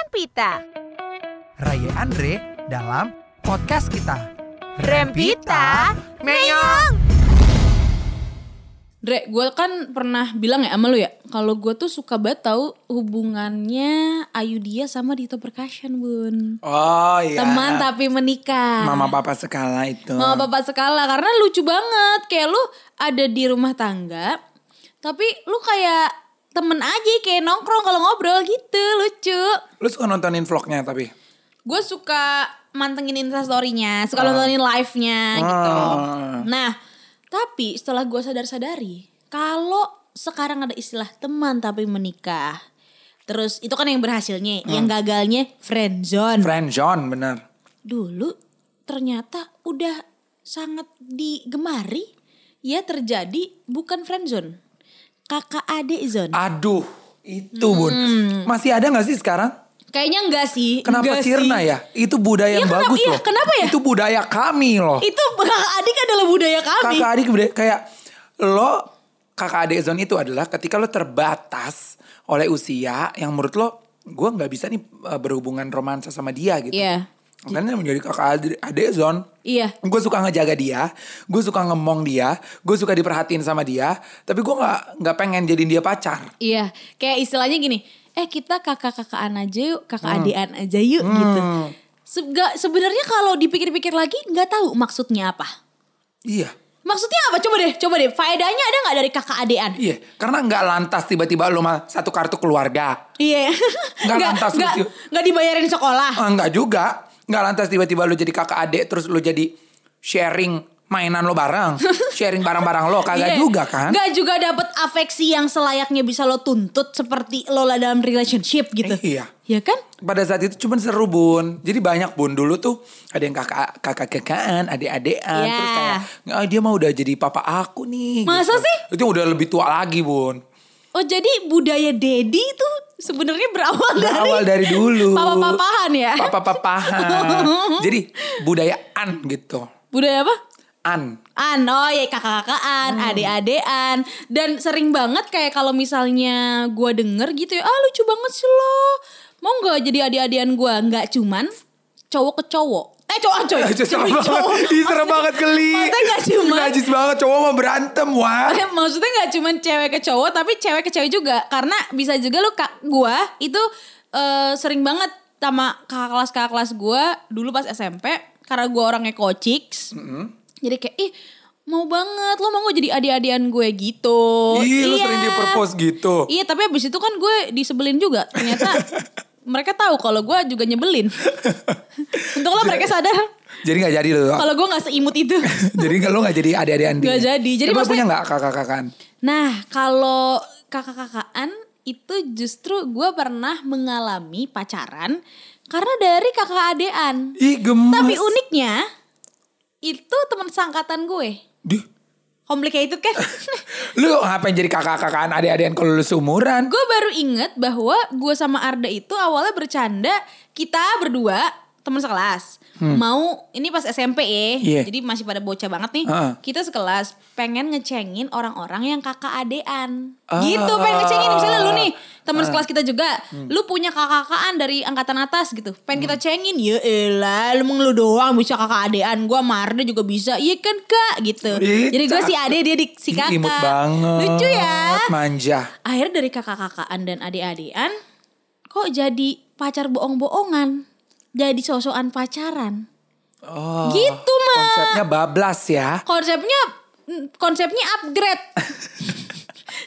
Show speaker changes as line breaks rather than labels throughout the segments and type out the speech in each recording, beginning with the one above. Rempita.
Raya Andre dalam podcast kita.
Rempita Meyong.
Dre, gue kan pernah bilang ya sama lu ya, kalau gue tuh suka banget tahu hubungannya Ayudhya sama Dito Percussion, Bun.
Oh iya.
Teman tapi menikah.
Mama papa sekala itu.
Mama bapak sekala karena lucu banget kayak lu ada di rumah tangga tapi lu kayak temen aja kayak nongkrong kalau ngobrol gitu lucu
Lu suka nontonin vlognya tapi.
gue suka mantengin instastorynya suka nontonin live nya gitu
Ah.
nah tapi setelah gue sadar sadari kalau sekarang ada istilah teman tapi menikah terus itu kan yang berhasilnya yang gagalnya friendzone
Hmm. Friend John bener.
dulu ternyata udah sangat digemari ya terjadi bukan friendzone kakak adik zone
Aduh itu bun.
Hmm.
Masih ada gak sih sekarang?
kayaknya enggak sih
Kenapa
enggak
sirna
sih.
ya? Itu budaya
Iya,
yang
kenapa-
bagus
iya,
loh.
kenapa ya?
Itu budaya kami loh.
itu kakak adik adalah budaya kami
kakak adik budaya- kayak lo kakak adik zone itu adalah ketika lo terbatas oleh usia yang menurut lo gue nggak bisa nih eh, berhubungan romansa sama dia gitu.
Iya.
Makanya menjadi kakak adik, adik zone.
iya
Gue suka ngejaga dia, gue suka ngemong dia, gue suka diperhatiin sama dia, tapi gue nggak nggak pengen jadiin dia pacar.
iya kayak istilahnya gini eh kita kakak kakaan aja yuk kakak
Hmm.
adikan aja yuk gitu Se- nggak- sebenarnya kalau dipikir-pikir lagi nggak tahu maksudnya apa
Iya,
maksudnya apa coba deh coba deh faedahnya ada nggak dari kakak adikan
iya, karena nggak lantas tiba-tiba lo mah satu kartu keluarga,
Iya.
Nggak
Nggak-
lantas
nggak-
lucu.
nggak dibayarin sekolah.
Ah, nggak juga, nggak lantas tiba-tiba lo jadi kakak adik terus lo jadi sharing mainan lo bareng, sharing barang-barang lo, kagak
Iya.
juga kan?
Nggak juga dapet afeksi yang selayaknya bisa lo tuntut seperti lo lah dalam relationship gitu.
Iya.
Ya kan?
pada saat itu cuman seru bun jadi banyak bun dulu tuh ada yang kakak kakak kakaan adik adean
Iya.
terus kayak ah, dia mah udah jadi papa aku nih Gitu.
Masa sih?
itu udah lebih tua lagi bun
Oh jadi budaya daddy itu sebenarnya berawal dari
awal dari dulu
papa-papahan ya.
papa papahan jadi budaya an gitu
budaya apa?
an
An, oh ya kakak-kakaan, adik-adean Dan sering banget kayak kalau misalnya gua denger gitu ya Ah lucu banget sih lo Mau gak jadi adik-adean gua? Nggak cuman cowok ke cowok Eh cowok coy
serem
Cowok-
banget Ih, serem banget geli
Maksudnya nggak cuman
najis banget cowok mau berantem wah
Maksudnya nggak cuman cewek ke cowok Tapi cewek ke cewek juga Karena bisa juga lo kak gue itu eh, sering banget sama kakak kelas-kakak kelas gua Dulu pas SMP Karena gua orangnya kociks
Mm-hmm.
Jadi kayak ih mau banget lo mau jadi adik-adian gue gitu
Ih, lu sering di
propose
propose gitu.
Iya tapi abis itu kan gue disebelin juga Ternyata mereka tahu kalau gue juga nyebelin Untunglah mereka sadar
jadi nggak jadi loh
kalau gue nggak seimut itu
jadi nggak- lo nggak jadi adik-adean
Nggak
dia.
jadi. Jadi
Emang
maksudnya-
punya nggak kakak-kakaan
Nah, kalau kakak-kakaan itu justru gue pernah mengalami pacaran karena dari kakak adean.
Ih gemes
Tapi uniknya itu teman sangkatan gue.
Dih,
Complicated kan?
Lu ngapain jadi kakak-kakaan adik-adikan kalau lu seumuran?
gue Kan? baru inget bahwa gue sama Arda itu awalnya bercanda kita berdua teman sekelas mau ini pas SMP ya
Hmm. Iya.
jadi masih pada bocah banget nih
Heeh.
kita sekelas pengen ngecengin orang-orang yang kakak adean
Ah.
gitu pengen ngecengin misalnya lu nih teman sekelas kita juga
Hmm.
lu punya kakak-kakaan dari angkatan atas gitu pengen kita cengin ya elah lu emang lu doang bisa kakak adean gue Marda juga bisa iya kan kak gitu
Ih,
jadi gue si
cakep.
ade dia di, si
Iya, Ih,
kakak
Imut banget.
lucu ya
Manja.
akhirnya dari kakak-kakaan dan adik-adikan kok jadi pacar bohong-bohongan jadi sosokan pacaran
Oh,
Gitu, Ma.
Konsepnya bablas ya.
konsepnya konsepnya upgrade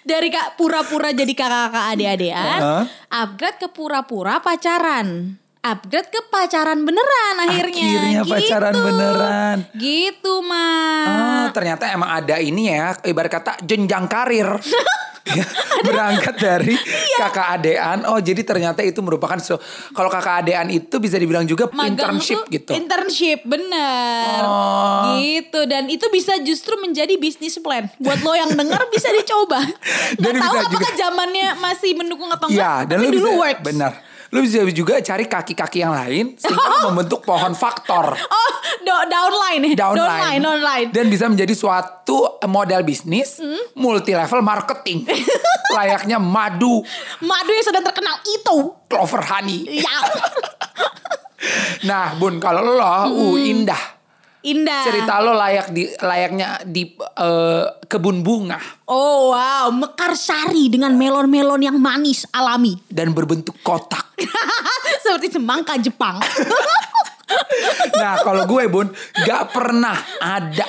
dari kak pura-pura jadi kakak-kakak adik-adikan
Heeh.
upgrade ke pura-pura pacaran upgrade ke pacaran beneran akhirnya
Akhirnya pacaran
Gitu.
beneran.
gitu ma
Ah, ternyata emang ada ini ya, ibarat kata jenjang karir. Ya, berangkat dari
Iya.
kakak adean oh jadi ternyata itu merupakan so, kalau kakak adean itu bisa dibilang juga
magang
internship
tuh
gitu
Internship, bener.
Oh.
Gitu dan itu bisa justru menjadi bisnis plan. Buat lo yang denger bisa dicoba. Gak
Dan
tahu
bisa
apakah
juga-
zamannya masih mendukung atau enggak.
Iya, dan
kan? tapi
lu
dulu
bisa
works.
benar lu bisa juga cari kaki-kaki yang lain sehingga membentuk pohon faktor
Oh, do- downline ya.
downline, eh,
downline. Hmm?
dan bisa menjadi suatu model bisnis multi level marketing layaknya madu
Madu yang sedang terkenal itu.
clover honey.
Ya.
Nah, Bun, kalau lo uh
Hmm.
indah.
Indah.
Cerita lo layak di layaknya di eh, kebun bunga
Oh wow, mekar sari dengan melon-melon yang manis alami. Ah,
dan berbentuk kotak.
Seperti semangka Jepang.
Nah, kalau gue, Bun, gak pernah ada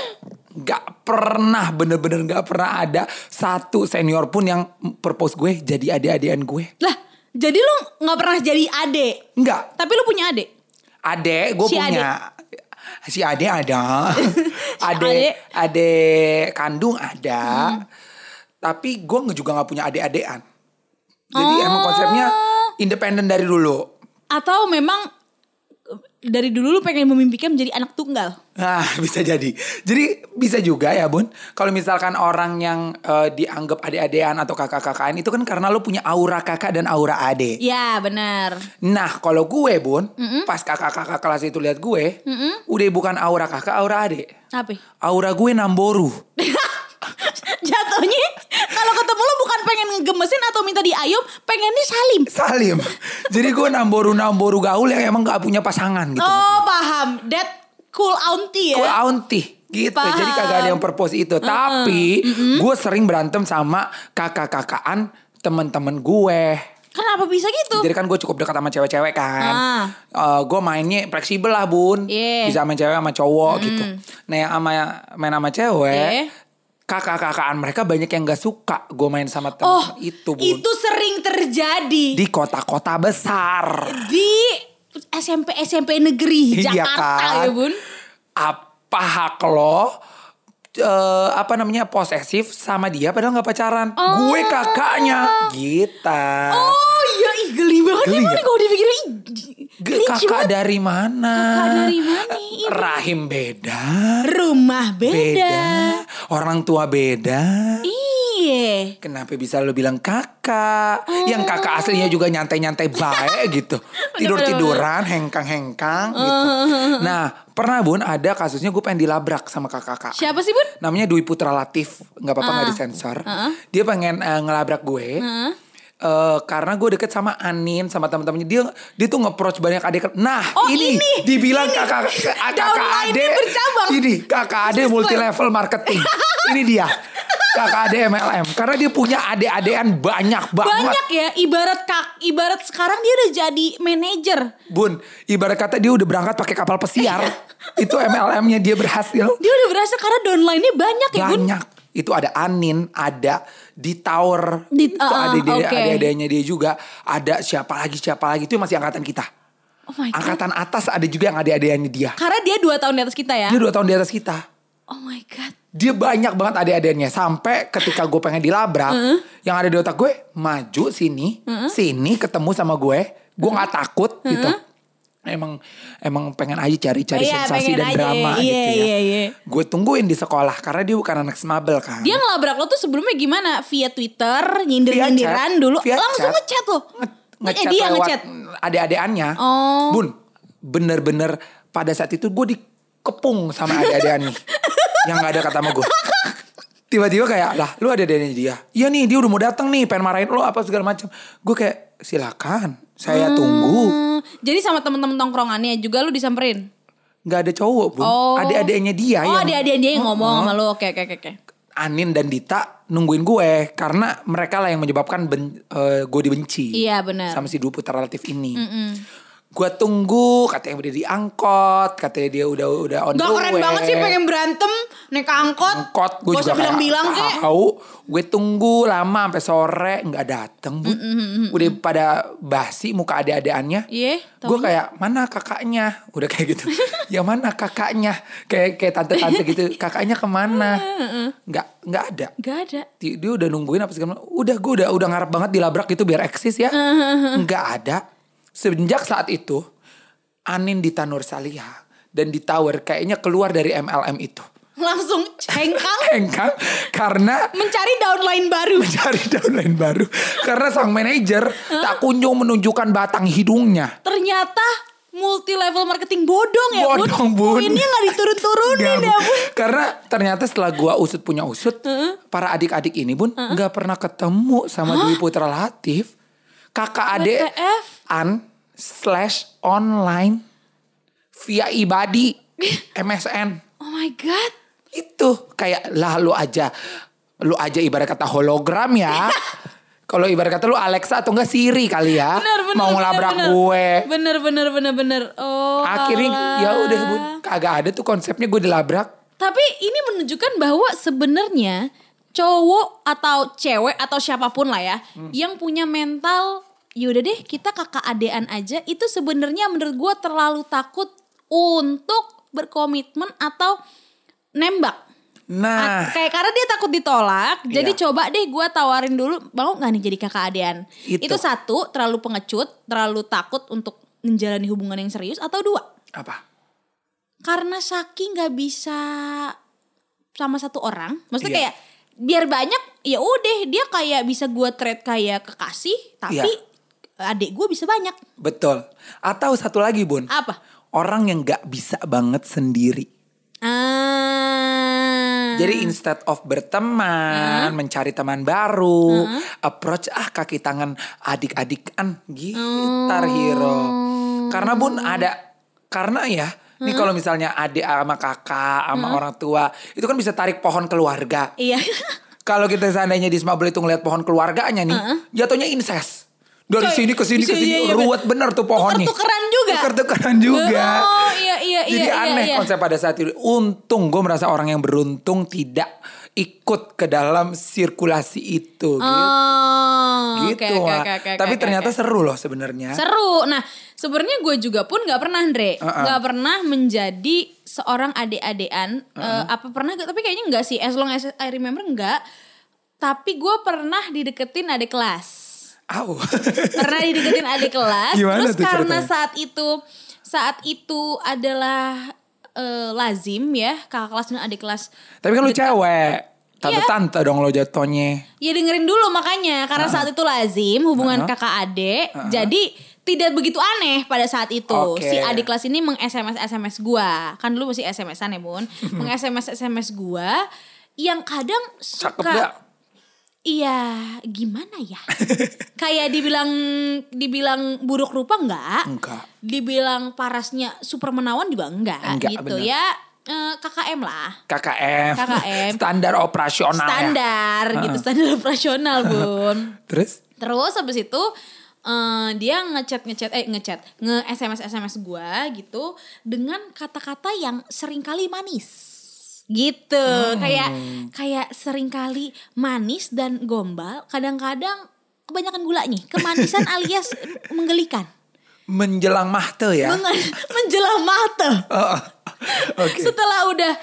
Gak pernah bener-bener gak pernah ada satu senior pun yang propose gue jadi adik-adikan gue.
lah, jadi lu nggak pernah jadi adek,
Enggak,
tapi lu punya adek.
Ade, gue
Si
punya. Si Ade ada.
Ade. Hmm.
ade, ade kandung ada. Tapi gue juga gak punya ade-adean. Jadi
Oh.
emang konsepnya independen dari dulu.
Atau memang eh, dari dulu lu pengen memimpikan menjadi anak tunggal.
Nah, bisa jadi. Jadi bisa juga ya, Bun. Kalau misalkan orang yang eh, dianggap ade-adean atau kakak-kakakan itu kan karena lo punya aura kakak dan aura ade.
Ya benar.
Nah, kalau gue, Bun, pas kakak-kakak kelas itu lihat gue, udah bukan aura kakak, aura ade.
Tapi
Aura gue namboru.
jatuhnya kalau ketemu lu bukan pengen ngegemesin atau minta diayom, pengennya salim.
Salim. Jadi gue namboru-namboru gaul yang emang gak punya pasangan gitu.
Oh paham, that cool auntie ya.
Gue auntie gitu.
Paham.
Jadi kagak ada yang purpose itu. Tapi gue sering berantem sama kakak-kakaan temen-temen gue.
Kenapa bisa gitu?
Jadi kan gue cukup dekat sama cewek-cewek kan.
Ah.
Eh, gue mainnya fleksibel lah bun.
Iya.
Bisa main cewek sama cowok gitu. Nah yang sama, main sama cewek.
Iya.
Kakak-kakaan mereka banyak yang gak suka gue main sama temen
oh,
itu bun.
itu sering terjadi.
Di kota-kota besar.
di SMP SMP negeri
Iya
Jakarta
kan?
ya bun.
Apa hak lo? eh, apa namanya posesif sama dia padahal nggak pacaran
Oh.
gue kakaknya Gitu. Gita
Oh iya ih geli banget
Geli
emang
ya?
nih kalau dipikirin ih,
Ge-
geli
kakak
banget.
dari mana
Kakak dari mana, iya.
rahim beda
rumah beda.
beda orang tua beda
Iya.
Kenapa bisa lo bilang kakak? Yang kakak
Oh.
aslinya juga nyantai-nyantai baik gitu. Tidur-tiduran, hengkang-hengkang gitu.
Oh.
Nah, pernah bun ada kasusnya gue pengen dilabrak sama kakak-kakak.
Siapa sih bun?
Namanya Dwi Putra Latif. nggak apa-apa
Ah.
nggak disensor. Dia pengen eh, ngelabrak gue. eh, karena gue deket sama Anin sama teman-temannya dia dia tuh nge-approach banyak adik nah
Oh,
ini,
ini.
dibilang kakak kakak
Downline-nya
ade
bercabang.
ini kakak ade multi level marketing ini dia kakak ade MLM karena dia punya ade-adean banyak banget
Banyak ya ibarat kak ibarat sekarang dia udah jadi manajer.
bun ibarat kata dia udah berangkat pakai kapal pesiar itu MLM-nya dia berhasil
Dia udah berasa karena downline-nya banyak ya bun.
banyak itu ada Anin ada di Tower
Di-
itu
ah,
ada
ah,
dia
oke.
ada adanya dia juga ada siapa lagi siapa lagi itu masih angkatan kita
Oh my god.
angkatan atas ada juga yang ada adanya dia
Karena dia dua tahun di atas kita ya.
dia dua tahun di atas kita
Oh my god.
dia banyak banget adik-adiknya sampai ketika gue pengen dilabrak yang ada di otak gue maju sini sini ketemu sama gue gue nggak takut gitu emang emang pengen aja cari-cari
Iya,
sensasi
pengen
dan
aja.
drama
Iya,
gitu ya
iya, iya.
gue tungguin di sekolah karena dia bukan anak smabel kan
Dia ngelabrak lo tuh sebelumnya gimana? Via Twitter, nyindir-nyindiran
Via chat,
dulu.
via
Langsung
chat.
ngechat lo.
Nge-
eh
ngechat
dia
lewat
ngechat.
adik-adikannya.
Oh.
Bun, bener-bener pada saat itu gue dikepung sama adik-adikan nih. yang gak ada kata sama gue. Tiba-tiba kayak, lah lu ada adanya dia. Iya nih, dia udah mau datang nih, pengen marahin lo apa segala macam. Gue kayak, silakan, saya tunggu.
Hmm, jadi sama temen-temen tongkrongannya juga lu disamperin?
Gak ada cowok, Bun.
Oh.
Adik-adiknya dia
Oh
yang...
adik-adik dia yang
oh.
ngomong sama lu, oke oke oke. oke.
Anin dan Dita nungguin gue karena mereka lah yang menyebabkan ben- eh, gue dibenci.
Iya, benar.
Sama si Dwi Putra Latif ini. Gue tunggu, katanya udah diangkot, katanya dia udah udah on
Gak
the
keren
way.
banget sih pengen berantem, naik angkot.
angkot. Gue juga
Gak usah bilang-bilang
kayak Ah,
kek.
tahu. Gue tunggu lama sampai sore nggak dateng bun. Udah pada basi muka adik-adikannya.
Iya,
Gue kayak mana kakaknya? Udah kayak gitu. ya mana kakaknya? Kayak kayak tante-tante gitu. Kakaknya kemana? Nggak nggak ada.
Gak ada.
Di- dia udah nungguin apa segala macam. udah gue udah udah ngarep banget dilabrak gitu biar eksis ya nggak ada semenjak saat itu Anin Dita Nursaliha dan di Tower kayaknya keluar dari MLM itu
Langsung cengkang
engkang karena
mencari downline baru.
cari downline baru karena sang manajer tak kunjung menunjukkan batang hidungnya
Ternyata multi level marketing bodong ya
Bodong, Bun.
Poinnya gak diturun-turunin
Nggak,
ya
Bun.
Bun.
Karena ternyata setelah gua usut punya usut, para adik-adik ini Bun nggak pernah ketemu sama Dwi Putra Latif. Kakak adik
WTF?
an slash online via ibadi MSN.
Oh my god.
Itu kayak lah lu aja lu aja ibarat kata hologram ya. Kalau ibarat kata lu Alexa atau enggak Siri kali ya.
Bener, bener,
mau
bener,
ngelabrak
bener.
gue.
Bener bener bener bener. Oh.
Akhirnya
alah.
ya udah Bun, kagak ada tuh konsepnya gue dilabrak.
Tapi ini menunjukkan bahwa sebenarnya cowok atau cewek atau siapapun lah ya
Hmm.
yang punya mental yaudah deh kita kakak adean aja itu sebenarnya menurut gua terlalu takut untuk berkomitmen atau nembak.
Nah,
At- kayak karena dia takut ditolak, jadi
Iya.
coba deh gua tawarin dulu mau nggak nih jadi kakak adean.
Itu.
Itu satu terlalu pengecut, terlalu takut untuk menjalani hubungan yang serius atau dua
apa?
karena Saki nggak bisa sama satu orang. Maksudnya
Iya.
kayak biar banyak ya udah dia kayak bisa gua trade kayak kekasih tapi
Iya.
adik gua bisa banyak.
Betul. Atau satu lagi Bun.
Apa?
Orang yang gak bisa banget sendiri.
Ah.
Jadi instead of berteman, mencari teman baru, approach ah kaki tangan adik-adikan gitar hero. Karena Bun ada karena ya Nih kalau misalnya adik sama kakak sama orang tua itu kan bisa tarik pohon keluarga.
iya.
Kalau kita seandainya di Smabel itu ngeliat pohon keluarganya nih, jatuhnya incest. Dari
Coy,
sini ke sini ke
iya, iya,
sini
iya,
ruwet bener tuh pohonnya.
Tuker-tukeran juga.
Tuker-tukeran juga.
Oh, iya, iya,
Jadi
iya, iya,
aneh
iya.
konsep gitu. pada saat itu. Untung gue merasa orang yang beruntung tidak ikut ke dalam sirkulasi itu gitu.
Oh, oke,
Gitu,
oke,
Wak.
oke, oke,
Tapi
oke,
ternyata
oke.
seru loh sebenarnya.
Seru. Nah, sebenarnya gue juga pun nggak pernah, Andre, nggak
Uh-uh.
pernah menjadi seorang adik-adikan. Eh, apa pernah? nggak? Tapi kayaknya nggak sih. As long as I remember nggak. Tapi gue pernah dideketin adik kelas.
Au.
Pernah dideketin adik kelas.
Gimana
terus
tuh
karena
ceritanya?
saat itu, saat itu adalah eh, lazim ya kakak kelas dan adik kelas.
Tapi kan lu cewek.
Iya.
Tante-tante dong lo jatuhnya.
Ya dengerin dulu makanya karena saat itu lazim hubungan kakak adik. Jadi tidak begitu aneh pada saat itu.
Oke.
Si adik kelas ini meng-SMS SMS gua. Kan dulu masih SMS-an ya, Bun. meng-SMS SMS gua yang kadang
Cakep
suka
gak?
Iya, gimana ya? Kayak dibilang dibilang buruk rupa enggak?
Enggak.
Dibilang parasnya super menawan juga enggak,
Enggak,
gitu
bener.
ya. Eh, KKM lah
KKM.
KKM.
Standar operasional ya.
standar gitu standar operasional bun
Terus?
terus habis itu eh, dia ngechat ngechat eh ngechat nge sms sms gue gitu dengan kata-kata yang seringkali manis gitu kayak kayak seringkali manis dan gombal kadang-kadang kebanyakan gula nih kemanisan alias menggelikan
Menjelang mahte ya.
Menge- menjelang mata
Oh, Oke.
Setelah udah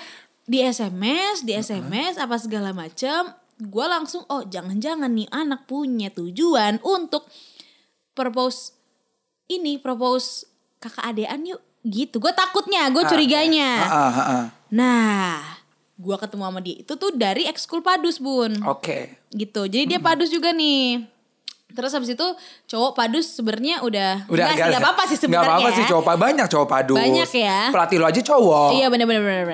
di SMS, di SMS apa segala macam, gue langsung oh jangan-jangan nih anak punya tujuan untuk propose ini propose kakak adean yuk gitu. Gue takutnya, gue
Ah,
curiganya.
ah, ah, ah.
Nah, gue ketemu sama dia itu tuh dari ekskul padus bun
Oh. Oke.
gitu. Jadi
Hmm.
dia padus juga nih. Terus habis itu cowok padus sebenarnya udah,
Udah
nggak sih,
agak-
nggak apa-apa sih sebenarnya.
Nggak apa-apa sih
ya.
cowok pa- banyak cowok padu.
Banyak ya.
Pelatih lo aja cowok.
Iya benar-benar benar.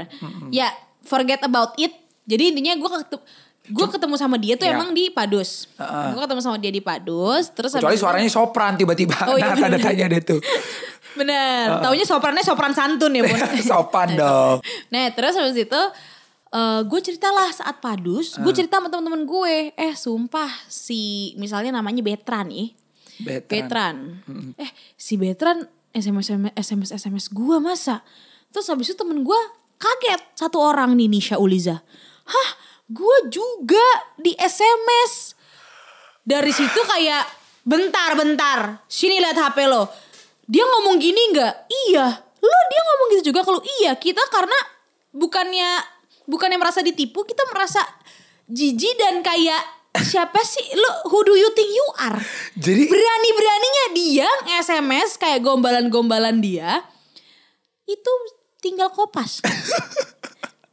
Ya forget about it. Jadi intinya gue ketemu gue ketemu sama dia tuh
Iya.
emang di Padus. Gue ketemu sama dia di Padus. Terus
Kecuali
habis itu-
suaranya sopran tiba-tiba.
Oh, iya,
nah, tanda
bener.
tanya deh tuh.
bener. Taunya soprannya sopran santun ya bun.
Sopan dong.
Nah terus habis itu eh gue ceritalah saat padus, gue cerita sama teman-teman gue, eh sumpah si misalnya namanya Betran nih,
Betra.
Betran. Eh, si Betran SMS SMS SMS gua masa. Terus habis itu temen gua kaget satu orang nih Nisha Uliza. Hah, gua juga di SMS. Dari situ kayak bentar bentar. Sini lihat HP lo. Dia ngomong gini nggak? Iya. Lo dia ngomong gitu juga kalau iya kita karena bukannya bukannya merasa ditipu, kita merasa jijik dan kayak siapa sih lo who do you think you are?
Jadi
berani-beraninya dia SMS kayak gombalan-gombalan dia itu tinggal kopas.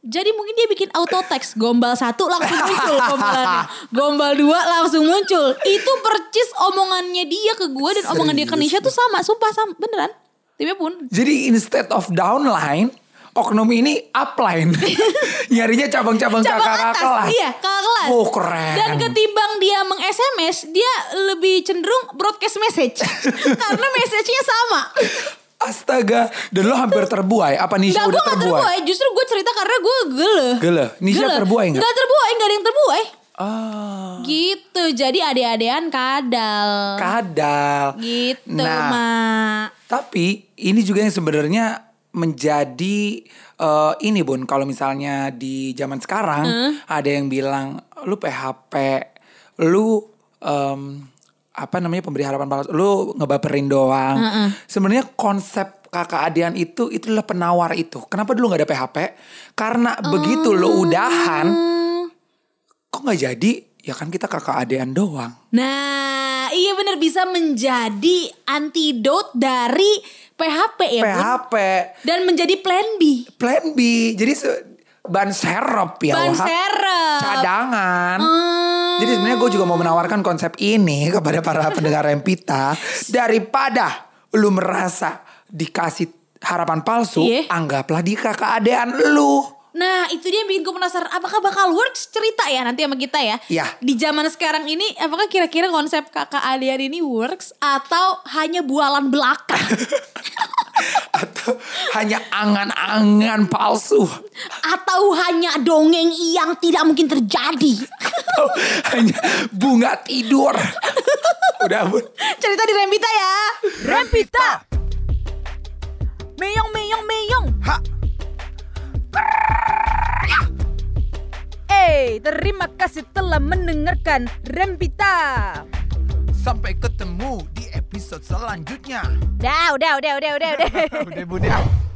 Jadi mungkin dia bikin auto text gombal satu langsung muncul gombalannya, gombal dua langsung muncul. Itu percis omongannya dia ke gue dan omongan dia ke Nisha tuh sama, sumpah sama beneran. timnya pun
Jadi instead of downline, oknum ini upline. Nyarinya cabang-cabang
cabang
kakak-kakak
atas
kelas.
iya kakak kelas
Oh, keren.
dan ketimbang dia meng SMS dia lebih cenderung broadcast message karena message-nya sama
Astaga, dan lo hampir terbuai. Apa Nisha
Gak
udah
gue gak
oh, terbuai?
terbuai Justru gue cerita karena gue gele
Gele. Nisha terbuai nggak?
Gak terbuai Gak ada yang terbuai
Ah,
Gitu Jadi ade-adean kadal
kadal.
Gitu
Nah,
mak
Tapi ini juga yang sebenarnya menjadi eh, ini Bun, kalau misalnya di zaman sekarang ada yang bilang lu PHP, lu em, apa namanya pemberi harapan palsu, lu ngebaperin doang. Sebenarnya konsep kakak adean itu itulah penawar itu. Kenapa dulu nggak ada PHP? Karena begitu
Oh.
lu udahan kok nggak jadi? Ya kan kita kakak adean doang.
Nah iya bener bisa menjadi antidot dari PHP ya Bun?
PHP
Dan menjadi plan B
Plan B. Jadi se- ban serep ya.
Ban
Wak.
serep.
Cadangan.
Hmm.
Jadi sebenarnya gue juga mau menawarkan konsep ini kepada para pendengar Rempita daripada lu merasa dikasih harapan palsu,
Iya.
anggaplah di keadaan lu.
Nah itu dia yang bikin gue penasaran Apakah bakal works cerita ya nanti sama kita ya
Iya.
Di zaman sekarang ini Apakah kira-kira konsep kakak Alian ini works Atau hanya bualan belaka
Atau hanya angan-angan palsu.
Atau hanya dongeng yang tidak mungkin terjadi
Atau hanya bunga tidur. Udah Bun.
Cerita di Rembita ya
Rempita,
Meyong meyong meyong
eh terima kasih telah mendengarkan Rempita.
Sampai ketemu di episode selanjutnya.
Dah, udah, udah, udah, udah, udah.
Udah, Bun, ya?